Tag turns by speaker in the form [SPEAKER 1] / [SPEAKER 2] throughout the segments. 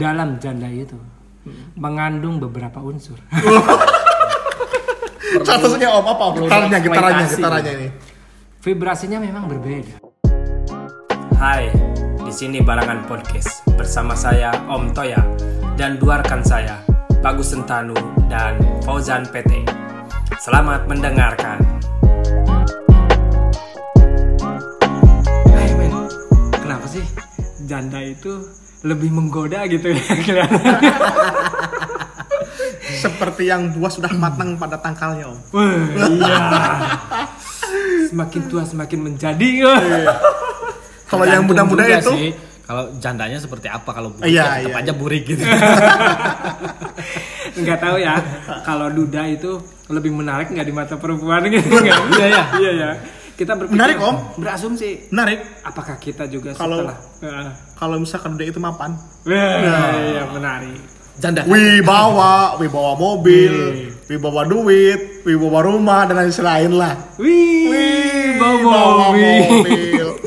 [SPEAKER 1] dalam janda itu
[SPEAKER 2] Hmm.
[SPEAKER 1] mengandung beberapa unsur.
[SPEAKER 3] Statusnya om apa om? Gitarnya, gitarnya,
[SPEAKER 2] eksploitasi.
[SPEAKER 3] gitarnya ini.
[SPEAKER 1] Vibrasinya memang berbeda.
[SPEAKER 2] Hai, di sini Barangan Podcast bersama saya Om Toya dan dua rekan saya Bagus Sentanu dan Fauzan PT. Selamat mendengarkan.
[SPEAKER 1] Hai Eh, men, kenapa sih janda itu lebih menggoda gitu ya kelihatan?
[SPEAKER 3] Seperti yang buah sudah
[SPEAKER 1] Hmm.
[SPEAKER 3] matang pada tangkalnya om.
[SPEAKER 1] Wah, iya. Semakin tua semakin menjadi.
[SPEAKER 3] Kalau yang
[SPEAKER 1] Tergantung
[SPEAKER 3] muda-muda
[SPEAKER 1] juga
[SPEAKER 3] itu,
[SPEAKER 1] sih.
[SPEAKER 4] Kalau jandanya seperti apa kalau
[SPEAKER 3] Iya,
[SPEAKER 4] burik ya tetap
[SPEAKER 3] iya,
[SPEAKER 4] aja burik gitu.
[SPEAKER 1] nggak tahu ya kalau duda itu lebih menarik nggak di mata perempuan gitu nggak? iya ya iya ya kita berpikir
[SPEAKER 3] Menarik, Om.
[SPEAKER 1] berasumsi
[SPEAKER 3] menarik.
[SPEAKER 1] apakah kita juga
[SPEAKER 3] Kalau-
[SPEAKER 1] setelah Heeh.
[SPEAKER 3] Kalau misalkan udah itu mapan,
[SPEAKER 1] Wah, iya menarik
[SPEAKER 4] Janda.
[SPEAKER 3] wibawa, wibawa
[SPEAKER 1] Hmm.
[SPEAKER 3] mobil, wibawa duit, wibawa rumah dan lain lain lah.
[SPEAKER 1] wih, bau
[SPEAKER 3] Wibawa
[SPEAKER 1] mobil
[SPEAKER 3] mobil.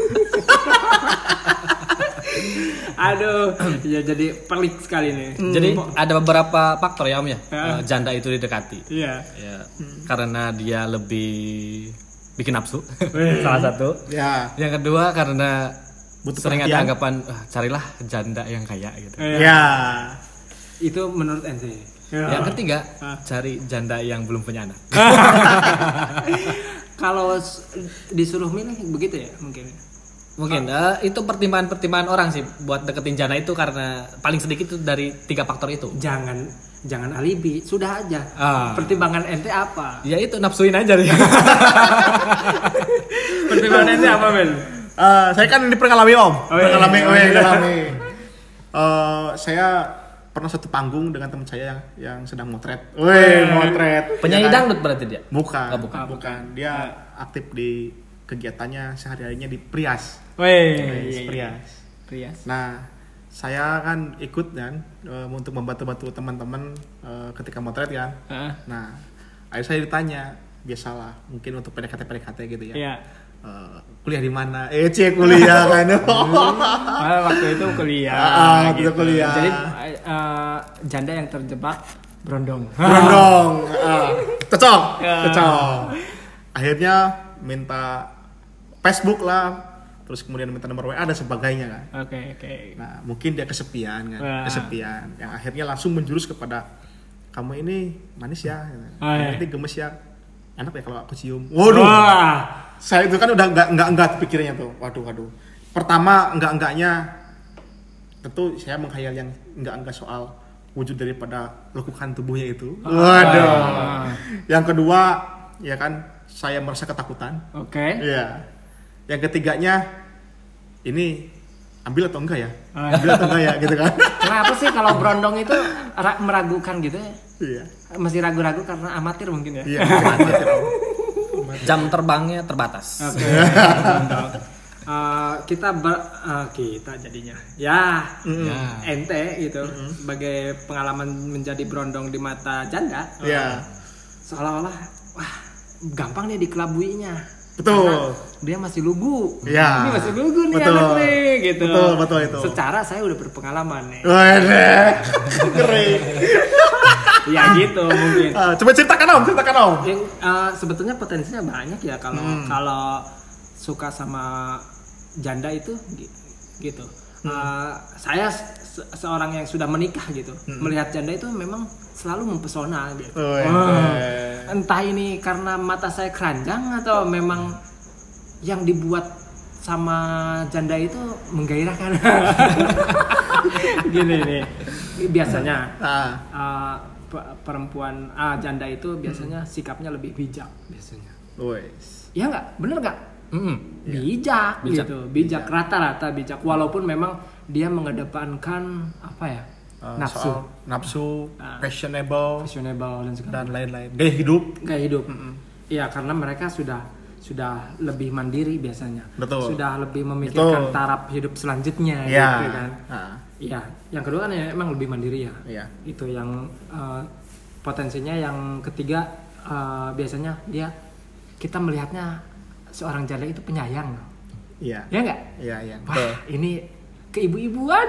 [SPEAKER 1] aduh ya jadi pelik sekali nih
[SPEAKER 4] Jadi ada beberapa faktor ya Om ya.
[SPEAKER 1] Ya.
[SPEAKER 4] Eh, Janda itu didekati.
[SPEAKER 1] iya
[SPEAKER 4] Ya,
[SPEAKER 3] Hmm.
[SPEAKER 4] karena dia lebih bikin nafsu.
[SPEAKER 1] Wih.
[SPEAKER 4] Salah satu.
[SPEAKER 3] Ya,
[SPEAKER 4] Yang kedua karena
[SPEAKER 3] Butuh
[SPEAKER 4] sering
[SPEAKER 3] perhatian.
[SPEAKER 4] ada anggapan "Ah, carilah janda yang kaya gitu.
[SPEAKER 1] Iya.
[SPEAKER 3] ya.
[SPEAKER 1] itu menurut ente
[SPEAKER 3] Iya.
[SPEAKER 4] Yang ketiga,
[SPEAKER 1] Ah.
[SPEAKER 4] cari janda yang belum punya anak.
[SPEAKER 1] kalau s- disuruh milih begitu ya mungkin
[SPEAKER 4] Mungkin eh, itu pertimbangan-pertimbangan orang sih buat deketin janda itu karena paling sedikit itu dari tiga faktor itu.
[SPEAKER 1] jangan jangan alibi sudah aja
[SPEAKER 4] Ah.
[SPEAKER 1] pertimbangan ente apa
[SPEAKER 4] Ya itu nafsuin aja nih.
[SPEAKER 1] pertimbangan ente apa men
[SPEAKER 3] Eh, saya kan ini pengalami om,
[SPEAKER 1] Oh, iya.
[SPEAKER 3] pengalami,
[SPEAKER 1] Oh,
[SPEAKER 3] oh, iya,
[SPEAKER 1] iya.
[SPEAKER 3] pengalami. Eh, saya pernah satu panggung dengan teman saya yang yang sedang motret. Wih, motret. Ya kan?
[SPEAKER 4] Penyanyi dangdut berarti dia.
[SPEAKER 3] Bukan, Ah,
[SPEAKER 4] Oh,
[SPEAKER 3] bukan,
[SPEAKER 4] bukan.
[SPEAKER 3] Dia aktif di kegiatannya sehari-harinya di Prias. Prias,
[SPEAKER 1] Weh,
[SPEAKER 3] Prias.
[SPEAKER 1] Prias.
[SPEAKER 3] Nah, saya kan ikut kan eh, untuk membantu-bantu teman-teman eh, ketika motret kan.
[SPEAKER 1] Heeh.
[SPEAKER 3] Nah, akhirnya saya ditanya, biasalah, mungkin untuk PDKT-PDKT gitu ya.
[SPEAKER 1] Iya.
[SPEAKER 3] Eh, kuliah di mana? Eh, cek kuliah kan.
[SPEAKER 1] Malah waktu itu kuliah. gitu.
[SPEAKER 3] Ah, waktu itu kuliah.
[SPEAKER 1] Jadi eh, eh, janda yang terjebak berondong.
[SPEAKER 3] Berondong. Ah, cocok,
[SPEAKER 1] Ya.
[SPEAKER 3] cocok. Akhirnya minta Facebook lah, terus kemudian minta nomor WA dan sebagainya kan.
[SPEAKER 1] Oke, oke.
[SPEAKER 3] Nah, mungkin dia kesepian kan,
[SPEAKER 1] Wah.
[SPEAKER 3] kesepian. Yang akhirnya langsung menjurus kepada kamu ini manis ya,
[SPEAKER 1] Ah, iya.
[SPEAKER 3] nanti gemes ya, enak ya kalau aku cium. Waduh,
[SPEAKER 1] Wah.
[SPEAKER 3] saya itu kan udah nggak nggak nggak pikirnya tuh. Waduh, waduh. Pertama nggak enggaknya tentu saya menghayal yang nggak enggak soal wujud daripada lekukan tubuhnya itu. Waduh.
[SPEAKER 1] Ah.
[SPEAKER 3] Yang kedua ya kan saya merasa ketakutan.
[SPEAKER 1] Oke.
[SPEAKER 3] Iya. Yang ketiganya ini ambil atau enggak ya?
[SPEAKER 1] Ah.
[SPEAKER 3] Ambil atau enggak ya gitu kan?
[SPEAKER 1] Kenapa sih kalau berondong itu ra- meragukan gitu ya?
[SPEAKER 3] Iya.
[SPEAKER 1] Masih ragu-ragu karena amatir mungkin ya?
[SPEAKER 3] Iya.
[SPEAKER 4] Jam terbangnya terbatas.
[SPEAKER 1] Oke. Eh, kita ber, eh, kita jadinya ya
[SPEAKER 4] Ya.
[SPEAKER 1] ente gitu sebagai pengalaman menjadi berondong di mata janda
[SPEAKER 3] Iya.
[SPEAKER 1] seolah-olah wah gampang nih dikelabuinya
[SPEAKER 3] Betul.
[SPEAKER 1] dia masih lugu.
[SPEAKER 3] Iya.
[SPEAKER 1] Ini masih lugu nih
[SPEAKER 3] Betul.
[SPEAKER 1] anak nih gitu.
[SPEAKER 3] Betul, betul itu.
[SPEAKER 1] Secara saya udah berpengalaman nih.
[SPEAKER 3] Waduh. Keren.
[SPEAKER 1] ya gitu mungkin.
[SPEAKER 3] Ah, coba ceritakan om, ceritakan om.
[SPEAKER 1] Yang eh, sebetulnya potensinya banyak ya kalau
[SPEAKER 3] Hmm.
[SPEAKER 1] kalau suka sama janda itu gi- gitu.
[SPEAKER 3] Hmm.
[SPEAKER 1] Eh, saya se- seorang yang sudah menikah gitu.
[SPEAKER 3] Hmm.
[SPEAKER 1] Melihat janda itu memang selalu mempesona gitu.
[SPEAKER 3] Weh.
[SPEAKER 1] Entah ini karena mata saya keranjang atau memang yang dibuat sama janda itu menggairahkan. Gini nih. Biasanya
[SPEAKER 3] Ah.
[SPEAKER 1] uh, pe- perempuan ah, janda itu biasanya sikapnya lebih bijak Hmm. biasanya.
[SPEAKER 3] Weh.
[SPEAKER 1] Ya nggak? Bener nggak? Iya.
[SPEAKER 4] Mm-mm.
[SPEAKER 1] Bijak,
[SPEAKER 4] Bijak.
[SPEAKER 1] gitu. Bijak rata-rata bijak walaupun memang dia mengedepankan apa ya?
[SPEAKER 3] Ah,
[SPEAKER 1] nafsu,
[SPEAKER 3] soal nafsu,
[SPEAKER 1] Ah.
[SPEAKER 3] fashionable
[SPEAKER 1] fashionable dan segala
[SPEAKER 3] dan lain-lain. Gaya hidup.
[SPEAKER 1] gaya hidup. Iya, karena mereka sudah sudah lebih mandiri biasanya.
[SPEAKER 3] Betul.
[SPEAKER 1] Sudah lebih memikirkan
[SPEAKER 3] Betul.
[SPEAKER 1] taraf hidup selanjutnya
[SPEAKER 3] Iya.
[SPEAKER 1] gitu kan.
[SPEAKER 3] Ah,
[SPEAKER 1] Iya, yang kedua kan ya emang lebih mandiri ya.
[SPEAKER 3] Iya.
[SPEAKER 1] Itu yang eh, potensinya yang ketiga eh, biasanya dia kita melihatnya seorang janda itu penyayang.
[SPEAKER 3] Iya.
[SPEAKER 1] Ya enggak?
[SPEAKER 3] Iya, iya.
[SPEAKER 1] Wah,
[SPEAKER 3] Betul.
[SPEAKER 1] ini keibu-ibuan.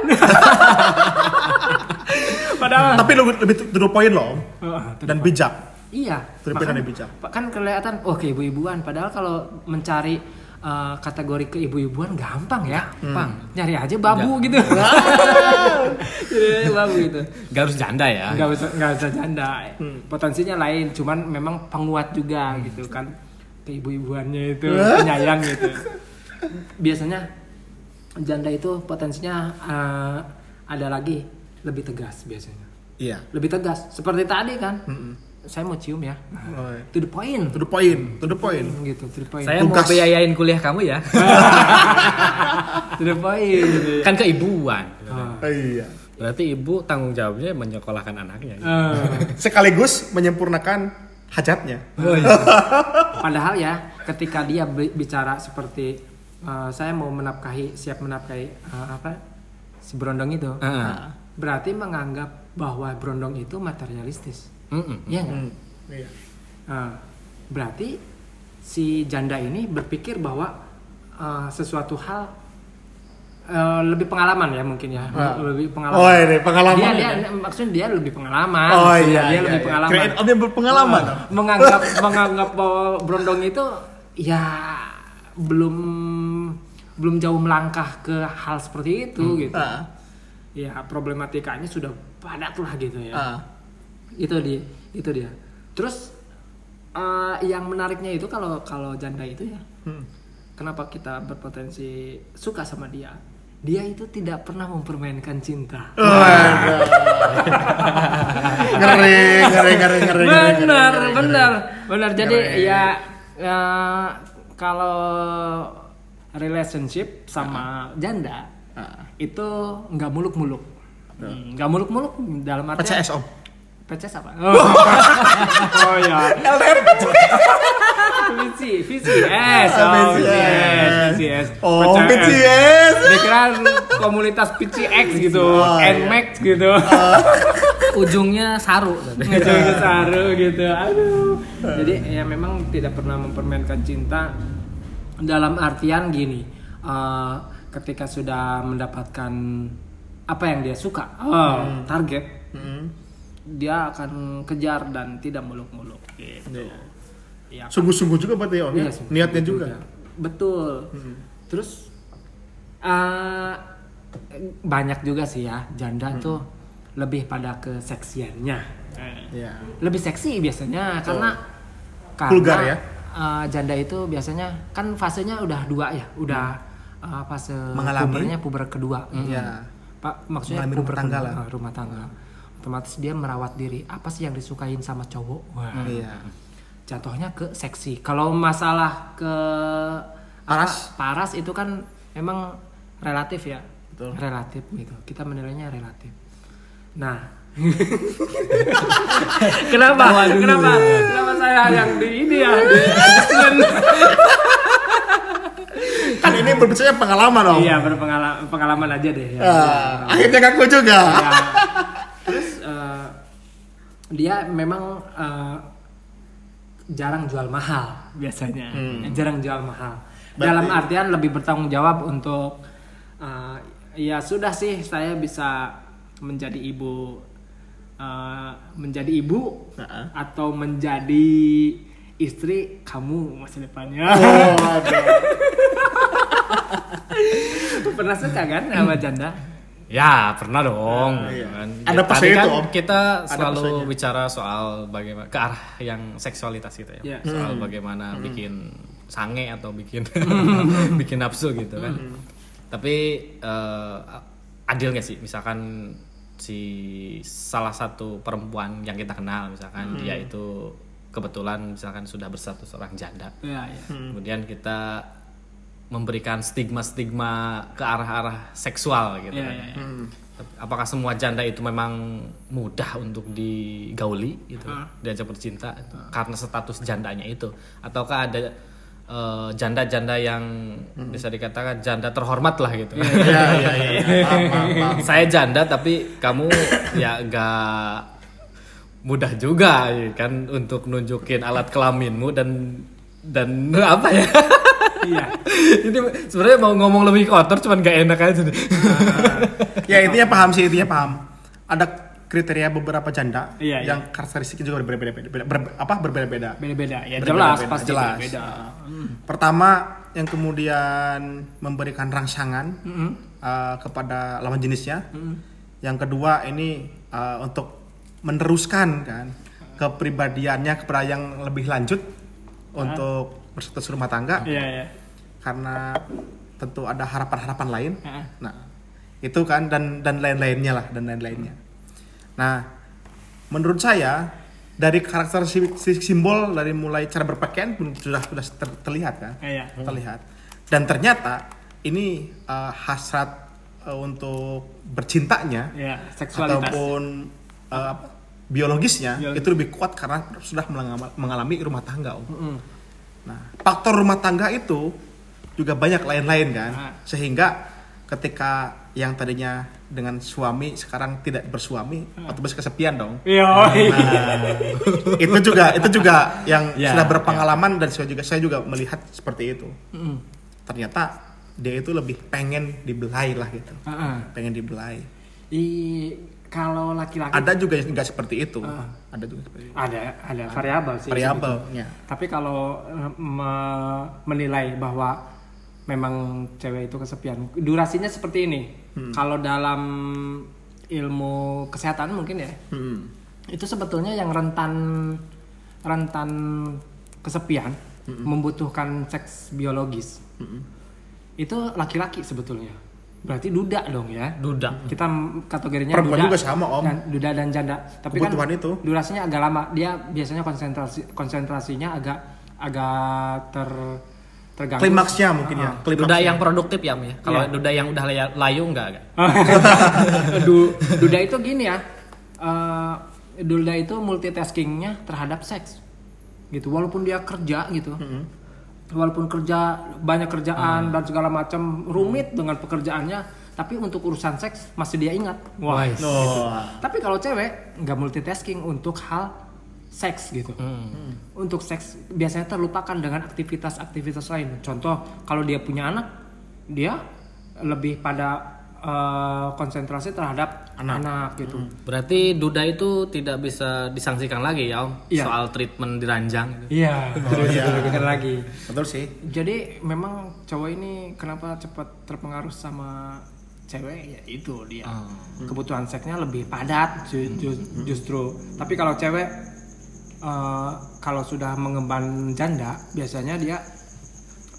[SPEAKER 1] Padahal
[SPEAKER 3] Tapi lebih lebih to the point loh.
[SPEAKER 1] Oh,
[SPEAKER 3] Dan bijak.
[SPEAKER 1] iya.
[SPEAKER 3] Tapi
[SPEAKER 1] makanya-
[SPEAKER 3] ada bijak.
[SPEAKER 1] Kan kelihatan oh keibu-ibuan padahal kalau mencari eh, kategori keibu-ibuan gampang ya, Pang. Nyari aja babu gitu. Jadi babu gitu.
[SPEAKER 4] Gak harus janda ya.
[SPEAKER 1] Nggak bisa nggak bisa janda. Potensinya lain, cuman memang penguat juga gitu kan. Keibu-ibuannya itu penyayang gitu. Biasanya janda itu potensinya eh, ada lagi lebih tegas biasanya.
[SPEAKER 3] Iya.
[SPEAKER 1] Lebih tegas. Seperti tadi kan. Saya mau cium ya.
[SPEAKER 3] Oh, iya.
[SPEAKER 1] To the point.
[SPEAKER 3] To the point, to the point.
[SPEAKER 1] Gitu, to the point.
[SPEAKER 4] Saya
[SPEAKER 3] Tugas.
[SPEAKER 4] mau biayain kuliah kamu ya.
[SPEAKER 1] To the point. gitu ya.
[SPEAKER 4] kan keibuan.
[SPEAKER 1] Ah.
[SPEAKER 3] Oh, iya.
[SPEAKER 4] Berarti ibu tanggung jawabnya menyekolahkan anaknya.
[SPEAKER 1] Eh,
[SPEAKER 3] Sekaligus menyempurnakan hajatnya.
[SPEAKER 1] Padahal ya, ketika dia bi- bicara seperti eh, saya mau menafkahi, siap menafkahi eh, apa si berondong itu,
[SPEAKER 4] Ah.
[SPEAKER 1] berarti menganggap bahwa berondong itu materialistis,
[SPEAKER 4] Mm-mm.
[SPEAKER 1] Iya nggak?
[SPEAKER 3] Hmm, Iya.
[SPEAKER 1] Nah, berarti si janda ini berpikir bahwa eh, sesuatu hal eh, lebih pengalaman ya mungkin ya, lebih
[SPEAKER 3] Oh,
[SPEAKER 1] pengalaman.
[SPEAKER 3] ini pengalaman.
[SPEAKER 1] dia, dia maksudnya dia lebih pengalaman.
[SPEAKER 3] Oh
[SPEAKER 1] maksudnya
[SPEAKER 3] iya,
[SPEAKER 1] dia
[SPEAKER 3] iya,
[SPEAKER 1] lebih
[SPEAKER 3] iya.
[SPEAKER 1] pengalaman. Eh,
[SPEAKER 3] Create of yang berpengalaman.
[SPEAKER 1] menganggap menganggap bahwa Brondong itu ya belum belum jauh melangkah ke hal seperti itu gitu.
[SPEAKER 3] Ah.
[SPEAKER 1] Ya problematikanya sudah padat lah gitu ya.
[SPEAKER 3] Ah.
[SPEAKER 1] Itu dia, itu dia. Terus eh, yang menariknya itu kalau kalau janda itu ya,
[SPEAKER 3] Hmm.
[SPEAKER 1] kenapa kita berpotensi suka sama dia? Dia itu tidak pernah mempermainkan cinta.
[SPEAKER 3] Waduh. ngeri, ngeri, ngeri, ngeri. ngeri, ngeri,
[SPEAKER 1] benar
[SPEAKER 3] ngeri, ngeri.
[SPEAKER 1] benar benar jadi
[SPEAKER 3] Keren.
[SPEAKER 1] ya eh, kalau relationship sama janda
[SPEAKER 3] Ah.
[SPEAKER 1] itu nggak muluk-muluk Hmm, nggak muluk-muluk dalam arti
[SPEAKER 3] PCS om.
[SPEAKER 1] PCS apa oh, oh ya
[SPEAKER 3] LDR
[SPEAKER 1] visi VCS oh VCS VCS
[SPEAKER 3] Ah, iya. Oh,
[SPEAKER 1] PCS.
[SPEAKER 3] PCS.
[SPEAKER 1] dikira komunitas PCX gitu
[SPEAKER 3] Oh, iya. Ah.
[SPEAKER 1] NMAX gitu
[SPEAKER 4] Ujungnya saru. tapi.
[SPEAKER 1] ngejauhin saru gitu aduh jadi
[SPEAKER 3] Ah.
[SPEAKER 1] ya memang tidak pernah mempermainkan cinta dalam artian gini eh, ketika sudah mendapatkan apa yang dia suka
[SPEAKER 3] Hmm.
[SPEAKER 1] oh, target dia akan kejar dan tidak muluk-muluk gitu ya
[SPEAKER 3] Iya. Sungguh-sungguh juga berarti
[SPEAKER 1] Iya,
[SPEAKER 3] om. ya?
[SPEAKER 1] sungguh-sungguh
[SPEAKER 3] Niatnya juga.
[SPEAKER 1] betul terus eh, banyak juga sih ya janda tuh lebih pada keseksiannya
[SPEAKER 3] Iya.
[SPEAKER 1] lebih seksi biasanya karena karena
[SPEAKER 3] Vulgar ya?
[SPEAKER 1] eh, janda itu biasanya kan fasenya udah dua ya udah eh, fase
[SPEAKER 3] Mm. Mengalami.
[SPEAKER 1] pubernya puber kedua
[SPEAKER 3] Iya.
[SPEAKER 1] pak maksudnya
[SPEAKER 3] Mengalami rumah
[SPEAKER 1] puber
[SPEAKER 3] tangga
[SPEAKER 1] kedua,
[SPEAKER 3] lah.
[SPEAKER 1] eh, rumah tangga otomatis dia merawat diri apa sih yang disukain sama cowok Wah.
[SPEAKER 3] Iya.
[SPEAKER 1] jatuhnya ke seksi kalau masalah ke apa,
[SPEAKER 3] Paras.
[SPEAKER 1] paras itu kan memang relatif ya
[SPEAKER 3] Betul.
[SPEAKER 1] relatif gitu kita menilainya relatif nah kenapa kenapa kenapa saya yang di ini ya di adjustment?
[SPEAKER 3] Kan ini berbicara pengalaman om.
[SPEAKER 1] iya berpengalaman pengalaman aja deh ya.
[SPEAKER 3] Ah, akhirnya ngaku juga.
[SPEAKER 1] Ya. terus eh, dia memang eh, jarang jual mahal Hmm. biasanya jarang jual mahal dalam artian lebih bertanggung jawab untuk eh, ya sudah sih saya bisa menjadi ibu eh, menjadi ibu
[SPEAKER 3] Heeh.
[SPEAKER 1] atau menjadi istri kamu masa depannya
[SPEAKER 3] Oh, aduh.
[SPEAKER 1] pernah suka kan sama janda
[SPEAKER 4] Ya pernah dong.
[SPEAKER 3] iya.
[SPEAKER 4] Kan.
[SPEAKER 3] Ada
[SPEAKER 4] Tadi
[SPEAKER 3] pesannya
[SPEAKER 4] kan
[SPEAKER 3] tuh, Om.
[SPEAKER 4] Kita
[SPEAKER 3] Ada
[SPEAKER 4] selalu
[SPEAKER 3] pesannya.
[SPEAKER 4] bicara soal bagaimana ke arah yang seksualitas gitu
[SPEAKER 1] Iya.
[SPEAKER 4] ya.
[SPEAKER 3] Hmm.
[SPEAKER 4] Soal bagaimana bikin sange atau bikin bikin nafsu gitu kan. Tapi eh, adil nggak sih misalkan si salah satu perempuan yang kita kenal misalkan dia itu kebetulan misalkan sudah berstatus orang janda.
[SPEAKER 1] ya ya
[SPEAKER 4] Kemudian kita memberikan stigma-stigma ke arah-arah seksual gitu
[SPEAKER 1] Iya,
[SPEAKER 4] kan.
[SPEAKER 1] iya, iya.
[SPEAKER 4] Apakah semua janda itu memang mudah untuk digauli gitu,
[SPEAKER 3] Hmm.
[SPEAKER 4] diajak bercinta gitu, karena status jandanya itu ataukah ada eh, janda-janda yang bisa dikatakan janda terhormat lah gitu.
[SPEAKER 3] Hmm. Iya, iya, iya, iya. Paham, paham, paham.
[SPEAKER 4] Saya janda tapi kamu ya gak mudah juga iya ya kan untuk nunjukin alat kelaminmu dan dan apa ya
[SPEAKER 1] iya
[SPEAKER 4] Ini sebenarnya mau ngomong lebih kotor cuman gak enak aja. nih.
[SPEAKER 3] ya intinya paham sih intinya paham ada kriteria beberapa janda
[SPEAKER 1] Iya, iya.
[SPEAKER 3] yang karakteristiknya juga berbeda-beda ber- ber- apa berbeda-beda
[SPEAKER 1] beda-beda ya
[SPEAKER 3] Beda-beda,
[SPEAKER 1] jelas
[SPEAKER 3] beda,
[SPEAKER 1] pasti
[SPEAKER 3] jelas.
[SPEAKER 1] beda
[SPEAKER 3] pertama yang kemudian memberikan rangsangan eh, kepada lawan jenisnya
[SPEAKER 1] Hmm.
[SPEAKER 3] yang kedua ini eh, untuk meneruskan kan kepribadiannya kepada yang lebih lanjut untuk berstatus rumah tangga
[SPEAKER 1] Ah. iya iya
[SPEAKER 3] karena tentu ada harapan-harapan lain.
[SPEAKER 1] Heeh.
[SPEAKER 3] Nah, itu kan dan dan lain-lainnya lah dan lain-lainnya. Nah, menurut saya dari karakter si- si- simbol dari mulai cara berpakaian pun sudah sudah ter- terlihat kan,
[SPEAKER 1] Iya.
[SPEAKER 3] terlihat. Dan ternyata ini eh, hasrat eh, untuk bercintanya
[SPEAKER 1] iya seksualitas
[SPEAKER 3] ataupun eh, apa, biologisnya
[SPEAKER 1] Biologis.
[SPEAKER 3] itu lebih kuat karena sudah melengam- mengalami rumah tangga om.
[SPEAKER 1] Mm.
[SPEAKER 3] Nah, faktor rumah tangga itu juga banyak lain-lain kan,
[SPEAKER 1] Ah.
[SPEAKER 4] Nah.
[SPEAKER 3] sehingga ketika yang tadinya dengan suami sekarang tidak bersuami,
[SPEAKER 4] Nah.
[SPEAKER 3] otomatis kesepian dong.
[SPEAKER 1] iya
[SPEAKER 3] Nah, itu juga itu juga yang
[SPEAKER 4] Ya,
[SPEAKER 3] sudah berpengalaman dan saya juga saya juga melihat seperti itu. Ternyata dia itu lebih pengen dibelai lah gitu,
[SPEAKER 1] Heeh.
[SPEAKER 3] pengen dibelai.
[SPEAKER 1] I- kalau laki-laki
[SPEAKER 3] Ada juga yang nggak seperti itu,
[SPEAKER 4] Ah.
[SPEAKER 3] ada juga seperti itu.
[SPEAKER 1] ada ada variabel
[SPEAKER 4] Iya,
[SPEAKER 1] sih
[SPEAKER 3] variabelnya.
[SPEAKER 1] Tapi kalau eh, me- menilai bahwa memang cewek itu kesepian, durasinya seperti ini. Kalau dalam ilmu kesehatan mungkin ya,
[SPEAKER 3] Hmm.
[SPEAKER 1] itu sebetulnya yang rentan rentan kesepian membutuhkan seks biologis. Itu laki-laki sebetulnya. Berarti duda dong ya.
[SPEAKER 4] Duda.
[SPEAKER 1] Kita m- kategorinya
[SPEAKER 3] Perempuan
[SPEAKER 1] duda.
[SPEAKER 3] juga sama, Om.
[SPEAKER 1] Dan, duda dan janda. Tapi kan
[SPEAKER 3] Kebutuhan itu.
[SPEAKER 1] durasinya agak lama. Dia biasanya konsentrasi konsentrasinya agak agak ter terganggu.
[SPEAKER 3] Klimaksnya mungkin ya. klimaksnya.
[SPEAKER 4] Ah. Duda yang produktif ya, Om, ya. Kalau
[SPEAKER 1] Iya.
[SPEAKER 4] duda yang udah lay- layu enggak, enggak.
[SPEAKER 1] Du- duda itu gini ya. eh, duda itu multitaskingnya terhadap seks. Gitu. Walaupun dia kerja gitu. Walaupun kerja banyak kerjaan dan segala macam rumit dengan pekerjaannya, tapi untuk urusan seks masih dia ingat. Wah.
[SPEAKER 4] Wise.
[SPEAKER 3] Oh.
[SPEAKER 1] Tapi kalau cewek nggak multitasking untuk hal seks gitu. Untuk seks biasanya terlupakan dengan aktivitas-aktivitas lain. Contoh kalau dia punya anak, dia lebih pada eh, konsentrasi terhadap anak, gitu.
[SPEAKER 4] Berarti duda itu tidak bisa disangsikan lagi ya, Om.
[SPEAKER 1] Iya.
[SPEAKER 4] Soal treatment diranjang gitu.
[SPEAKER 1] Iya.
[SPEAKER 3] iya.
[SPEAKER 1] Bener lagi.
[SPEAKER 3] Betul sih.
[SPEAKER 1] Jadi memang cowok ini kenapa cepat terpengaruh sama cewek ya itu dia kebutuhan seksnya lebih padat ju- ju- justru. Tapi kalau cewek eh, kalau sudah mengemban janda biasanya dia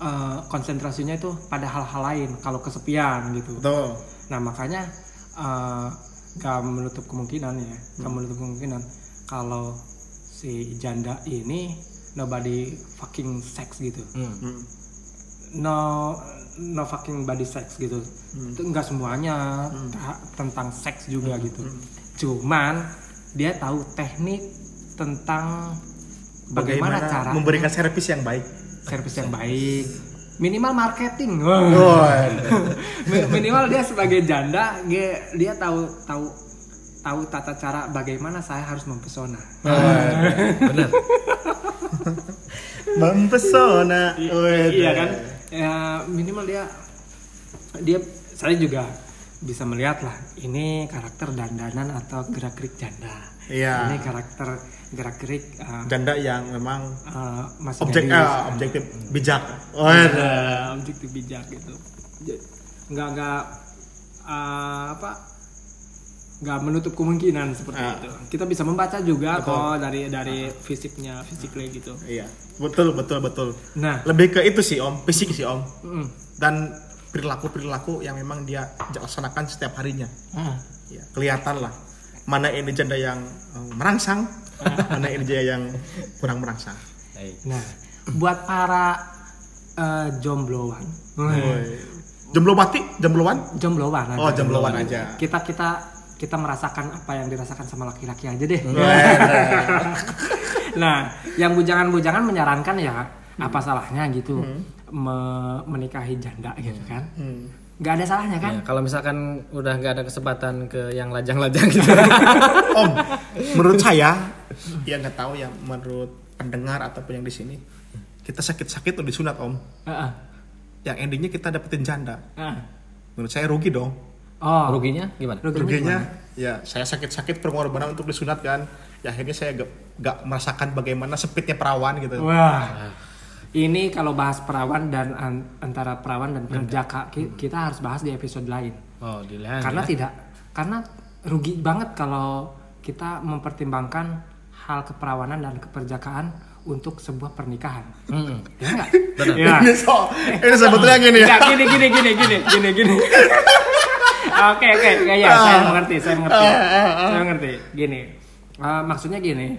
[SPEAKER 1] eh, konsentrasinya itu pada hal-hal lain kalau kesepian gitu.
[SPEAKER 3] Betul.
[SPEAKER 1] Nah makanya eh, gak menutup kemungkinan ya, gak menutup kemungkinan kalau si janda ini nobody fucking sex gitu no no fucking body sex gitu itu nggak semuanya ta- tentang seks juga gitu cuman dia tahu teknik tentang bagaimana, cara
[SPEAKER 3] memberikan servis yang baik.
[SPEAKER 1] servis yang baik minimal marketing
[SPEAKER 3] Waduh.
[SPEAKER 1] Mi- minimal dia sebagai janda dia, dia tahu tahu tahu tata cara bagaimana saya harus mempesona
[SPEAKER 4] Bener.
[SPEAKER 3] Mempesona.
[SPEAKER 1] I-
[SPEAKER 3] Waduh.
[SPEAKER 1] iya kan ya, minimal dia dia saya juga bisa melihat lah ini karakter dandanan atau gerak gerik janda
[SPEAKER 3] Iya.
[SPEAKER 1] ini karakter eh, gerak gerik
[SPEAKER 3] Janda yang memang
[SPEAKER 1] masih
[SPEAKER 3] objek
[SPEAKER 1] gadis.
[SPEAKER 3] ah, objektif bijak. Waduh.
[SPEAKER 1] Eh, objektif bijak gitu Ja- nggak nggak eh, apa nggak menutup kemungkinan seperti
[SPEAKER 3] Ah.
[SPEAKER 1] itu kita bisa membaca juga kok dari dari fisiknya fisiknya gitu
[SPEAKER 3] Iya. Betul, betul, betul.
[SPEAKER 1] nah
[SPEAKER 3] Lebih ke itu sih, Om. Fisik sih, Om.
[SPEAKER 1] mm,
[SPEAKER 3] Dan perilaku-perilaku yang memang dia laksanakan setiap harinya.
[SPEAKER 1] ah.
[SPEAKER 3] Ya, kelihatan lah mana ini janda yang eh, merangsang, mana ini janda yang kurang merangsang.
[SPEAKER 1] Nah, buat para eh, jombloan,
[SPEAKER 3] Woi. Jomblo mati, jombloan?
[SPEAKER 1] jombloan Nah, aja.
[SPEAKER 3] Nah. Oh, jombloan aja.
[SPEAKER 1] Kita kita kita merasakan apa yang dirasakan sama laki-laki aja deh. nah, yang bujangan-bujangan menyarankan ya apa salahnya gitu me- menikahi janda gitu kan? Gak ada salahnya kan?
[SPEAKER 4] Ya, kalau misalkan udah nggak ada kesempatan ke yang lajang-lajang gitu.
[SPEAKER 3] Om, menurut saya, ya nggak tahu ya, menurut pendengar ataupun yang di sini, kita sakit-sakit udah disunat om.
[SPEAKER 1] Heeh.
[SPEAKER 3] yang endingnya kita dapetin janda
[SPEAKER 1] Ah.
[SPEAKER 3] menurut saya rugi dong
[SPEAKER 1] Oh.
[SPEAKER 4] Ruginya gimana?
[SPEAKER 3] ruginya ya saya sakit-sakit pengorbanan untuk disunat kan ya akhirnya saya gak, gak merasakan bagaimana sempitnya perawan gitu
[SPEAKER 1] Oh. Wah. Ini kalau bahas perawan dan an- antara perawan dan pekerja Kak, ki- kita harus bahas di episode lain.
[SPEAKER 4] Oh, dilihat.
[SPEAKER 1] Karena
[SPEAKER 4] ya.
[SPEAKER 1] tidak karena rugi banget kalau kita mempertimbangkan hal keperawanan dan keperjakaan untuk sebuah pernikahan.
[SPEAKER 4] Mm-mm.
[SPEAKER 1] Ya enggak?
[SPEAKER 3] ini so ini sebetulnya gini ya
[SPEAKER 1] Enggak, gini gini gini gini gini gini. Oke oke, ya, ya, saya mengerti, saya mengerti, saya mengerti. Gini, eh, maksudnya gini,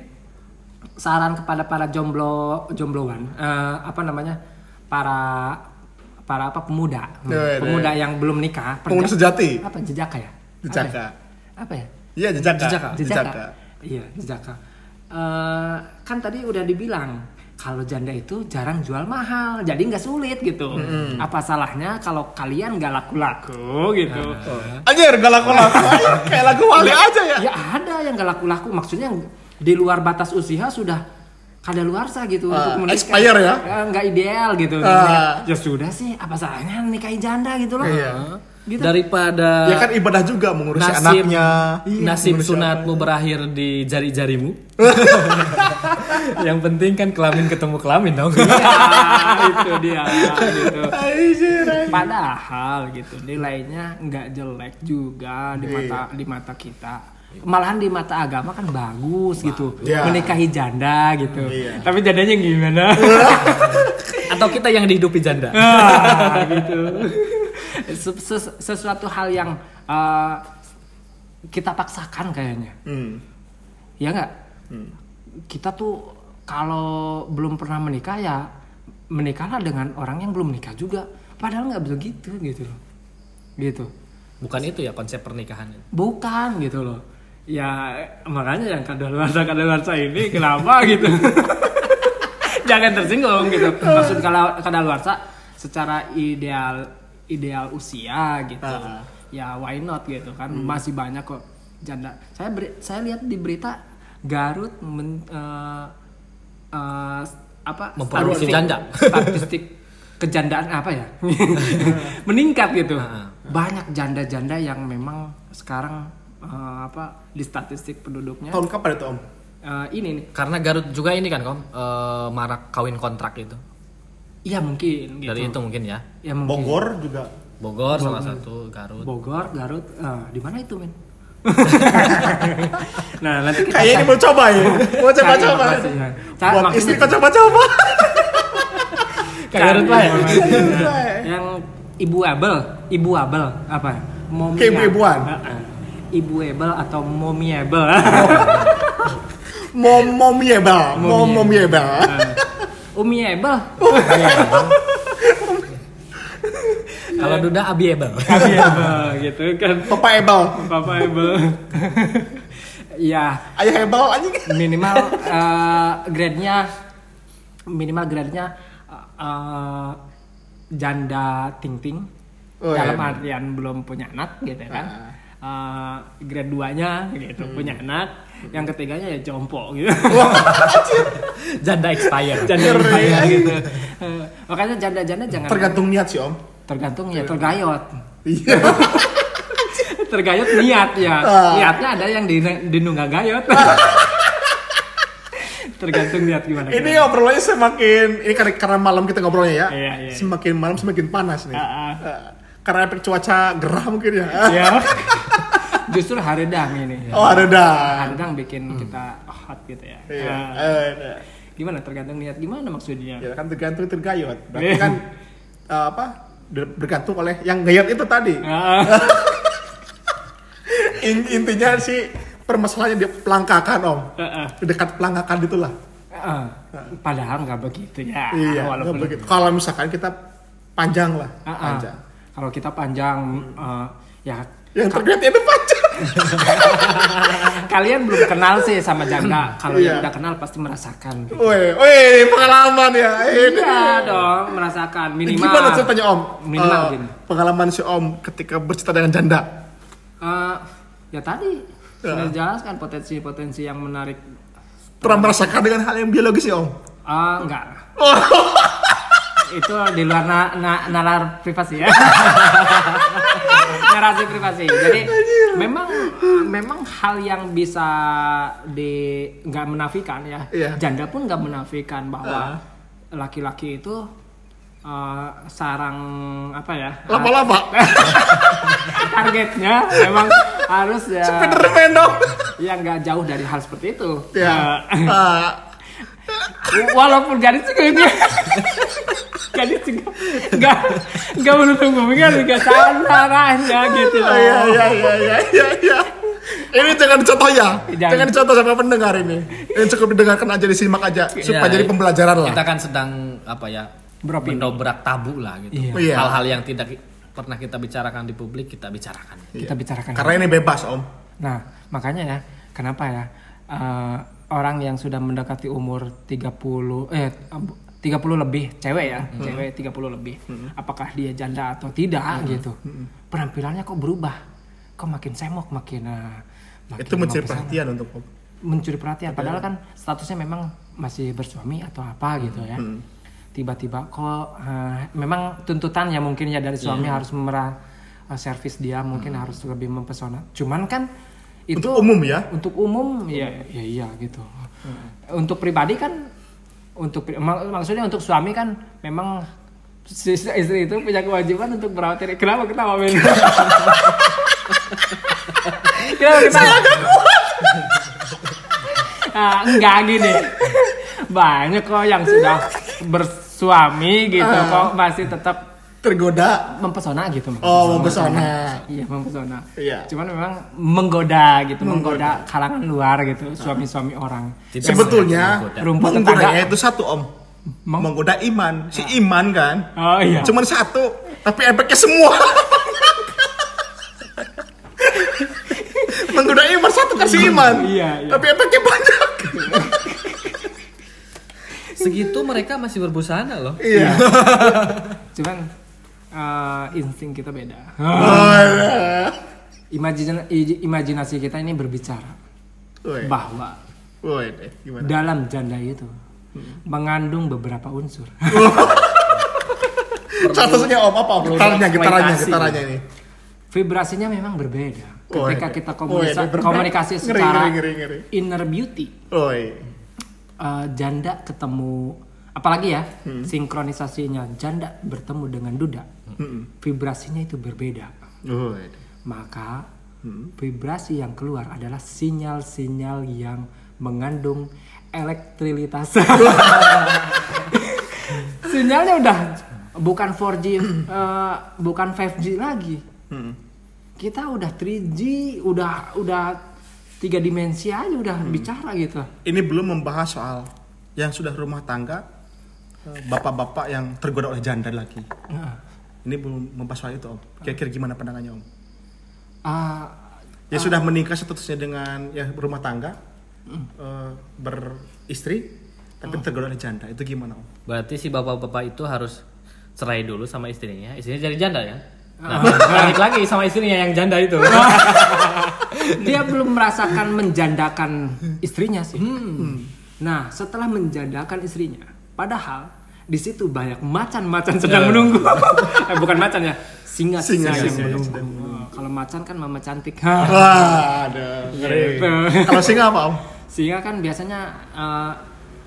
[SPEAKER 1] saran kepada para jomblo jombloan, eh, apa namanya, para para apa pemuda, hmm,
[SPEAKER 3] Duh,
[SPEAKER 1] pemuda yang belum nikah,
[SPEAKER 3] pengguna
[SPEAKER 1] perja-
[SPEAKER 3] sejati
[SPEAKER 1] apa jejaka ya? Apa ya?
[SPEAKER 3] jejaka
[SPEAKER 1] Apa ya?
[SPEAKER 3] iya jejaka
[SPEAKER 1] Jejaka. Iya, jejaka. Eh, kan tadi udah dibilang kalau janda itu jarang jual mahal, jadi nggak sulit gitu. Apa salahnya kalau kalian nggak laku-laku gitu?
[SPEAKER 3] anjir galak-galak kayak lagu wali aja ya
[SPEAKER 1] Ya ada yang nggak laku-laku, maksudnya di luar batas usia sudah kadaluarsa gitu
[SPEAKER 3] Ah,
[SPEAKER 1] untuk menikah.
[SPEAKER 3] expire ya?
[SPEAKER 1] Eh, Nggak ideal gitu.
[SPEAKER 3] Ah.
[SPEAKER 1] Ya sudah sih, apa salahnya nikahin janda gitu loh?
[SPEAKER 3] Iya.
[SPEAKER 1] Gitu.
[SPEAKER 4] Daripada
[SPEAKER 3] ya kan ibadah juga mengurusi
[SPEAKER 4] Nasib.
[SPEAKER 3] anaknya
[SPEAKER 1] Iya,
[SPEAKER 4] nasib sunatmu berakhir di jari-jarimu. Yang penting kan kelamin ketemu kelamin dong.
[SPEAKER 1] Ya, itu dia gitu.
[SPEAKER 3] Anjir, anjir.
[SPEAKER 1] Padahal gitu nilainya nggak jelek juga
[SPEAKER 3] Iya.
[SPEAKER 1] di mata di mata kita. Malahan di mata agama kan bagus gitu
[SPEAKER 3] Iya.
[SPEAKER 1] menikahi janda gitu.
[SPEAKER 3] Iya.
[SPEAKER 1] Tapi jandanya gimana?
[SPEAKER 4] Atau kita yang dihidupi janda.
[SPEAKER 1] Ah, gitu. Ses- ses- Sesuatu hal yang eh, kita paksakan kayaknya.
[SPEAKER 3] Hmm.
[SPEAKER 1] Ya nggak? Kita tuh kalau belum pernah menikah ya menikahlah dengan orang yang belum menikah juga. Padahal nggak begitu gitu loh. Gitu.
[SPEAKER 4] Bukan itu ya konsep pernikahan.
[SPEAKER 1] Bukan gitu loh. Ya makanya yang kadaluarsa kadaluarsa ini kenapa gitu. Jangan tersinggung gitu. Maksud kalau kadaluarsa secara ideal ideal usia gitu. Ya why not gitu kan
[SPEAKER 4] Hmm.
[SPEAKER 1] masih banyak kok janda. Saya beri- saya lihat di berita Garut men, eh, eh, apa
[SPEAKER 4] Memproduksi
[SPEAKER 1] statistik-
[SPEAKER 4] janda.
[SPEAKER 1] statistik kejandaan apa ya meningkat gitu
[SPEAKER 4] Heeh.
[SPEAKER 1] banyak janda-janda yang memang sekarang eh, apa di statistik penduduknya
[SPEAKER 3] tahun kapan itu om
[SPEAKER 1] eh, ini nih
[SPEAKER 4] Karena Garut juga ini kan kom eh, marak kawin kontrak itu.
[SPEAKER 1] iya mungkin gitu
[SPEAKER 4] Dari itu mungkin ya.
[SPEAKER 1] ya mungkin
[SPEAKER 3] Bogor juga
[SPEAKER 4] Bogor salah satu, Garut.
[SPEAKER 1] Bogor Garut eh, di mana itu men nah nanti kita
[SPEAKER 3] kayaknya ini mau coba ya mau coba-coba
[SPEAKER 1] Cari informasinya. Cari
[SPEAKER 3] buat
[SPEAKER 1] maksudnya-
[SPEAKER 3] istri kau coba-coba
[SPEAKER 4] Ke Garut lah ya.
[SPEAKER 1] informasinya. Nah, yang ibu abel ibu abel apa momi
[SPEAKER 3] Kayak ibu-ibuan.
[SPEAKER 1] ibu abel atau momi abel
[SPEAKER 3] mom mom yebel mom mom yebel
[SPEAKER 4] Oh.
[SPEAKER 1] umi abel
[SPEAKER 4] Kalau Duda abiable.
[SPEAKER 1] kami abel gitu kan
[SPEAKER 3] papa ebel
[SPEAKER 1] Papa Ebel. ya,
[SPEAKER 3] ayah ebel anjing
[SPEAKER 1] minimal eh, grade-nya minimal grade-nya eh, eh, janda ting-ting
[SPEAKER 3] Oh, iya. Ah.
[SPEAKER 1] dalam artian belum punya anak gitu kan. Eh, grade 2-nya gitu
[SPEAKER 3] Hmm.
[SPEAKER 1] punya anak, yang ketiganya ya jompo gitu.
[SPEAKER 4] Janda expired.
[SPEAKER 1] janda janda gitu. Eh, makanya janda-janda jangan
[SPEAKER 3] tergantung niat sih om
[SPEAKER 1] tergantung ya tergayot.
[SPEAKER 3] iya
[SPEAKER 1] tergayot niat ya
[SPEAKER 3] Ah.
[SPEAKER 1] niatnya ada yang di, di nunggak gayot tergantung niat gimana
[SPEAKER 3] ini obrolannya semakin ini karena, karena malam kita ngobrolnya ya
[SPEAKER 1] Iya, iya.
[SPEAKER 3] semakin malam semakin panas nih
[SPEAKER 1] Ah, ah.
[SPEAKER 3] Eh, karena efek cuaca gerah mungkin ya
[SPEAKER 1] ya justru haredang ini Ya.
[SPEAKER 3] oh ada dah
[SPEAKER 1] haredang bikin kita hot gitu ya
[SPEAKER 3] Iya.
[SPEAKER 1] Nah,
[SPEAKER 3] Eh, nah.
[SPEAKER 1] gimana tergantung niat gimana maksudnya
[SPEAKER 3] Ya kan tergantung tergayot. Berarti
[SPEAKER 1] Iya.
[SPEAKER 3] kan eh, apa? ber- Bergantung oleh yang gayot itu tadi.
[SPEAKER 1] Ah,
[SPEAKER 3] In- intinya sih permasalahannya di pelangkakan om.
[SPEAKER 1] ah,
[SPEAKER 3] Dekat pelangkakan itulah.
[SPEAKER 1] ah. padahal nggak begitu ya
[SPEAKER 3] iya. nggak
[SPEAKER 1] walaupun
[SPEAKER 3] begitu. Kalau misalkan kita panjang lah,
[SPEAKER 1] Ah, ah.
[SPEAKER 3] panjang. Hmm.
[SPEAKER 1] kalau kita panjang eh, ya
[SPEAKER 3] Yang tergayot itu panjang.
[SPEAKER 1] kalian belum kenal sih sama janda kalau yang
[SPEAKER 3] Iya.
[SPEAKER 1] udah kenal pasti merasakan gitu.
[SPEAKER 3] Woi, woi pengalaman ya. Ini.
[SPEAKER 1] Iya dong, merasakan minimal.
[SPEAKER 3] Eh, Gimana ceritanya om?
[SPEAKER 1] Minimal
[SPEAKER 3] Eh,
[SPEAKER 1] gini.
[SPEAKER 3] pengalaman si om ketika bercerita dengan janda.
[SPEAKER 1] Eh, ya tadi sudah
[SPEAKER 3] Ya.
[SPEAKER 1] dijelaskan potensi-potensi yang menarik.
[SPEAKER 3] Pernah merasakan dengan hal yang biologis ya om?
[SPEAKER 1] Ah, enggak. Eh, itu di luar na- na- nalar privasi ya. Narasi privasi. Jadi memang memang hal yang bisa di nggak menafikan ya.
[SPEAKER 3] Iya. Ah.
[SPEAKER 1] Janda pun nggak menafikan bahwa laki-laki itu eh, sarang apa ya?
[SPEAKER 3] Lama-lama.
[SPEAKER 1] Targetnya memang harus ya
[SPEAKER 3] Spiderman dong.
[SPEAKER 1] yang nggak jauh dari hal seperti itu. Ya,
[SPEAKER 3] Ya. Ah,
[SPEAKER 1] walaupun garis juga garis juga nggak nggak menutup kupingnya juga sana arahnya gitu loh.
[SPEAKER 3] Iya iya iya iya iya. iya. Ini jangan dicontoh ya.
[SPEAKER 1] Jangan.
[SPEAKER 3] Jangan dicontoh sama pendengar ini. Ini cukup didengarkan aja disimak aja
[SPEAKER 1] Iya,
[SPEAKER 3] supaya
[SPEAKER 4] Ya,
[SPEAKER 3] jadi pembelajaran lah.
[SPEAKER 4] Kita kan sedang apa ya? mendobrak tabu lah gitu.
[SPEAKER 3] Iya.
[SPEAKER 4] Hal-hal yang tidak ki- pernah kita bicarakan di publik kita bicarakan.
[SPEAKER 3] iya.
[SPEAKER 1] kita bicarakan
[SPEAKER 3] Karena ini bebas om.
[SPEAKER 1] nah makanya ya kenapa ya eh, orang yang sudah mendekati umur 30 eh 30 lebih cewek ya cewek 30 lebih apakah dia janda atau tidak gitu penampilannya kok berubah kok makin semok makin eh, makin
[SPEAKER 3] Itu mencari
[SPEAKER 1] mempesona.
[SPEAKER 3] perhatian untuk om.
[SPEAKER 1] mencuri perhatian
[SPEAKER 3] Iya.
[SPEAKER 1] padahal kan statusnya memang masih bersuami atau
[SPEAKER 3] Hmm.
[SPEAKER 1] apa gitu ya tiba-tiba kok eh, memang tuntutannya mungkin ya dari suami
[SPEAKER 3] Iya.
[SPEAKER 1] harus merah eh, servis dia mungkin harus lebih mempesona cuman kan itu
[SPEAKER 3] Hmm. Untuk umum ya.
[SPEAKER 1] untuk umum ya ya iya gitu untuk pribadi kan untuk pri- mak- maksudnya untuk suami kan memang si istri itu punya kewajiban untuk merawat diri kenapa ketawa men kenapa ketawa Ah, enggak gini banyak kok yang sudah bersuami gitu kok masih tetap
[SPEAKER 3] Tergoda.
[SPEAKER 1] mempesona gitu Mas.
[SPEAKER 3] Oh, mempesona.
[SPEAKER 1] Iya mempesona.
[SPEAKER 3] Iya.
[SPEAKER 1] Cuman memang menggoda gitu, menggoda, kalangan luar gitu,
[SPEAKER 3] Ah.
[SPEAKER 1] suami-suami orang.
[SPEAKER 4] Tidak
[SPEAKER 3] Sebetulnya
[SPEAKER 4] menggoda.
[SPEAKER 1] Rumput
[SPEAKER 3] menggodanya
[SPEAKER 1] tetangga. Ah.
[SPEAKER 3] itu satu om.
[SPEAKER 1] Meng-
[SPEAKER 3] Menggoda iman. Si iman kan.
[SPEAKER 1] Oh iya.
[SPEAKER 3] Cuman satu. Tapi efeknya semua. Menggoda iman satu kan si iman.
[SPEAKER 1] Iya, iya.
[SPEAKER 3] Tapi efeknya banyak.
[SPEAKER 4] Segitu mereka masih berbusana loh.
[SPEAKER 3] Iya.
[SPEAKER 1] Cuman eh, insting kita beda.
[SPEAKER 3] Ah. Alah.
[SPEAKER 1] Imajina- ij- imajinasi kita ini berbicara
[SPEAKER 3] Woi,
[SPEAKER 1] bahwa
[SPEAKER 3] woi, eh, gimana?
[SPEAKER 1] dalam janda itu
[SPEAKER 3] Hmm.
[SPEAKER 1] mengandung beberapa unsur.
[SPEAKER 3] Statusnya om apa om? Gitarnya, gitarnya,
[SPEAKER 4] eksploitasi.
[SPEAKER 3] gitarnya ini.
[SPEAKER 1] Vibrasinya memang berbeda.
[SPEAKER 3] Woi.
[SPEAKER 1] Ketika kita
[SPEAKER 3] Woi,
[SPEAKER 1] komunikasi,
[SPEAKER 3] ini Oh, iya, berbeda.
[SPEAKER 1] komunikasi
[SPEAKER 3] Ngeri,
[SPEAKER 1] secara
[SPEAKER 3] ngeri, ngeri, ngeri.
[SPEAKER 1] inner beauty,
[SPEAKER 3] Woi,
[SPEAKER 1] eh, janda ketemu apalagi ya sinkronisasinya janda bertemu dengan duda
[SPEAKER 3] Hmm.
[SPEAKER 1] vibrasinya itu berbeda
[SPEAKER 3] woi.
[SPEAKER 1] maka vibrasi yang keluar adalah sinyal-sinyal yang mengandung elektrilitas sinyalnya udah bukan 4G eh, bukan 5G lagi kita udah 3G udah udah tiga dimensi aja udah bicara gitu
[SPEAKER 3] Ini belum membahas soal yang sudah rumah tangga, eh, bapak-bapak yang tergoda oleh janda lagi.
[SPEAKER 1] Nah.
[SPEAKER 3] Ini belum membahas soal itu om. Kira-kira gimana pandangannya om?
[SPEAKER 1] Ah, Mm.
[SPEAKER 3] Ya sudah menikah statusnya dengan ya berumah tangga, eh, beristri,
[SPEAKER 1] Oh.
[SPEAKER 3] tapi tergoda oleh janda. Itu gimana om?
[SPEAKER 4] Berarti si bapak-bapak itu harus cerai dulu sama istrinya. Istrinya jadi janda ya. Nah, balik lagi sama istrinya yang janda itu.
[SPEAKER 1] dia belum merasakan menjandakan istrinya sih.
[SPEAKER 3] Hmm.
[SPEAKER 1] Nah, setelah menjandakan istrinya, padahal di situ banyak macan-macan sedang menunggu. eh, bukan macan ya, singa-singa
[SPEAKER 3] Ya. Singa,
[SPEAKER 1] yang
[SPEAKER 3] singa,
[SPEAKER 1] menunggu.
[SPEAKER 3] sedang
[SPEAKER 1] Oh, Kalau macan kan mama cantik.
[SPEAKER 3] Wah, ada. ngeri.
[SPEAKER 1] Gitu.
[SPEAKER 3] Kalau singa apa om?
[SPEAKER 1] singa kan biasanya eh,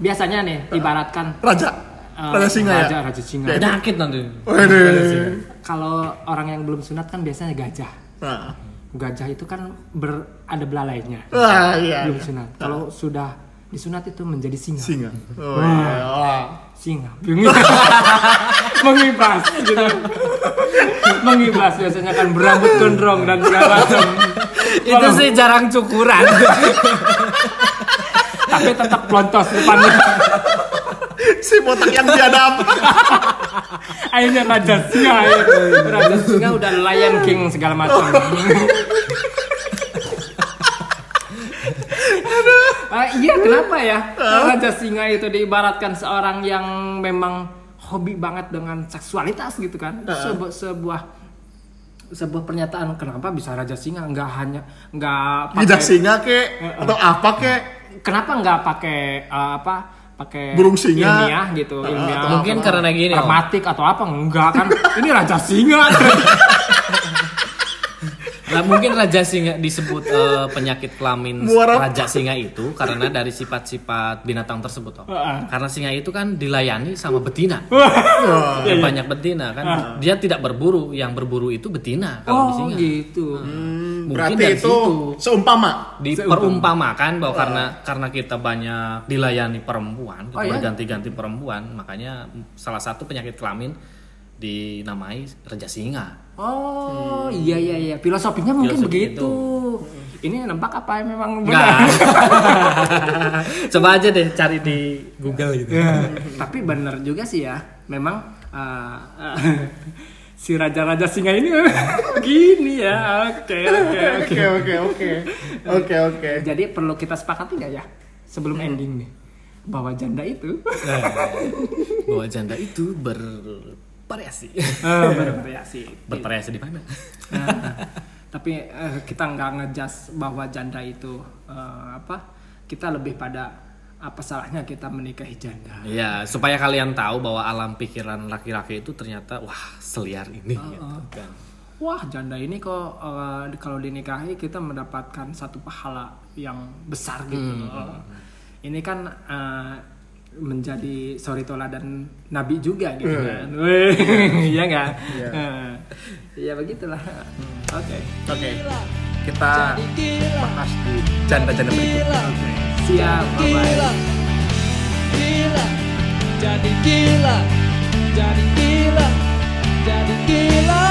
[SPEAKER 1] biasanya nih ibaratkan
[SPEAKER 3] Raja.
[SPEAKER 1] eh,
[SPEAKER 3] Raja singa
[SPEAKER 1] raja,
[SPEAKER 3] ya.
[SPEAKER 1] raja singa.
[SPEAKER 4] Penyakit nanti.
[SPEAKER 3] Waduh.
[SPEAKER 1] Kalau orang yang belum sunat kan biasanya gajah.
[SPEAKER 3] Nah.
[SPEAKER 1] Gajah itu kan ber, ada belalainya.
[SPEAKER 3] Wah, iya.
[SPEAKER 1] belum sunat. Kalau sudah disunat itu menjadi singa.
[SPEAKER 3] Singa. Oh, iya. Wah.
[SPEAKER 1] Singa. Mengibas gitu. Mengibas biasanya kan berambut gondrong dan segala macam.
[SPEAKER 4] itu sih jarang cukuran.
[SPEAKER 1] Tapi tetap pelontos depannya.
[SPEAKER 3] iya. Si botak yang biadab.
[SPEAKER 1] Akhirnya raja singa. ya. Raja singa udah lion king segala macam. Ah, iya kenapa ya Raja Singa itu diibaratkan seorang yang memang hobi banget dengan seksualitas gitu kan Sebu- sebuah sebuah pernyataan kenapa bisa Raja Singa nggak hanya nggak
[SPEAKER 3] Bijak
[SPEAKER 1] pakai
[SPEAKER 3] singa kek atau apa kek?
[SPEAKER 1] kenapa nggak pakai eh, apa pakai
[SPEAKER 3] Burung singa. Ah,
[SPEAKER 1] ilmiah gitu ilmiah
[SPEAKER 4] Mungkin karena gini, Om.
[SPEAKER 1] pragmatik atau apa enggak kan ini raja singa
[SPEAKER 4] Nah, mungkin raja singa disebut eh, penyakit kelamin
[SPEAKER 3] Muara.
[SPEAKER 4] raja singa itu karena dari sifat-sifat binatang tersebut, Om.
[SPEAKER 1] Heeh.
[SPEAKER 4] Karena singa itu kan dilayani sama betina.
[SPEAKER 3] Wah.
[SPEAKER 1] Iya,
[SPEAKER 4] Banyak betina kan. Dia tidak berburu, yang berburu itu betina
[SPEAKER 1] Ah.
[SPEAKER 4] kalau di
[SPEAKER 1] oh
[SPEAKER 4] singa.
[SPEAKER 1] gitu
[SPEAKER 3] Hmm,
[SPEAKER 4] Mungkin
[SPEAKER 3] berarti
[SPEAKER 4] dari
[SPEAKER 3] itu
[SPEAKER 4] situ.
[SPEAKER 3] seumpama
[SPEAKER 4] diperumpamakan bahwa karena karena kita banyak dilayani perempuan
[SPEAKER 1] Ah. Oh, iya?
[SPEAKER 4] berganti-ganti perempuan makanya salah satu penyakit kelamin dinamai raja singa
[SPEAKER 1] oh iya iya iya filosofinya mungkin
[SPEAKER 4] Hmm. Filosofi gitu.
[SPEAKER 1] begitu ini nembak apa ya memang benar
[SPEAKER 4] Nah. coba aja deh cari di Google gitu
[SPEAKER 1] tapi benar juga sih ya memang eh, eh, si raja-raja singa ini gini ya oke oke oke
[SPEAKER 3] oke oke oke oke oke
[SPEAKER 1] jadi perlu kita sepakati nggak ya sebelum ending nih bahwa janda itu
[SPEAKER 4] bahwa janda itu bervariasi
[SPEAKER 1] eh, bervariasi
[SPEAKER 4] bervariasi di mana
[SPEAKER 1] Nah, tapi eh, kita nggak ngejas bahwa janda itu eh, apa kita lebih pada apa salahnya kita menikahi janda
[SPEAKER 4] ya supaya kalian tahu bahwa alam pikiran laki-laki itu ternyata wah seliar ini
[SPEAKER 3] Oh,
[SPEAKER 4] gitu kan
[SPEAKER 1] wah janda ini kok eh, kalau dinikahi kita mendapatkan satu pahala yang besar gitu loh. ini kan eh, menjadi sorry tola dan nabi juga gitu kan Weh, iya nggak Eh, ya begitulah oke
[SPEAKER 3] oke kita bahas di janda-janda berikutnya
[SPEAKER 1] siap bye bye
[SPEAKER 5] gila jadi gila jadi gila jadi gila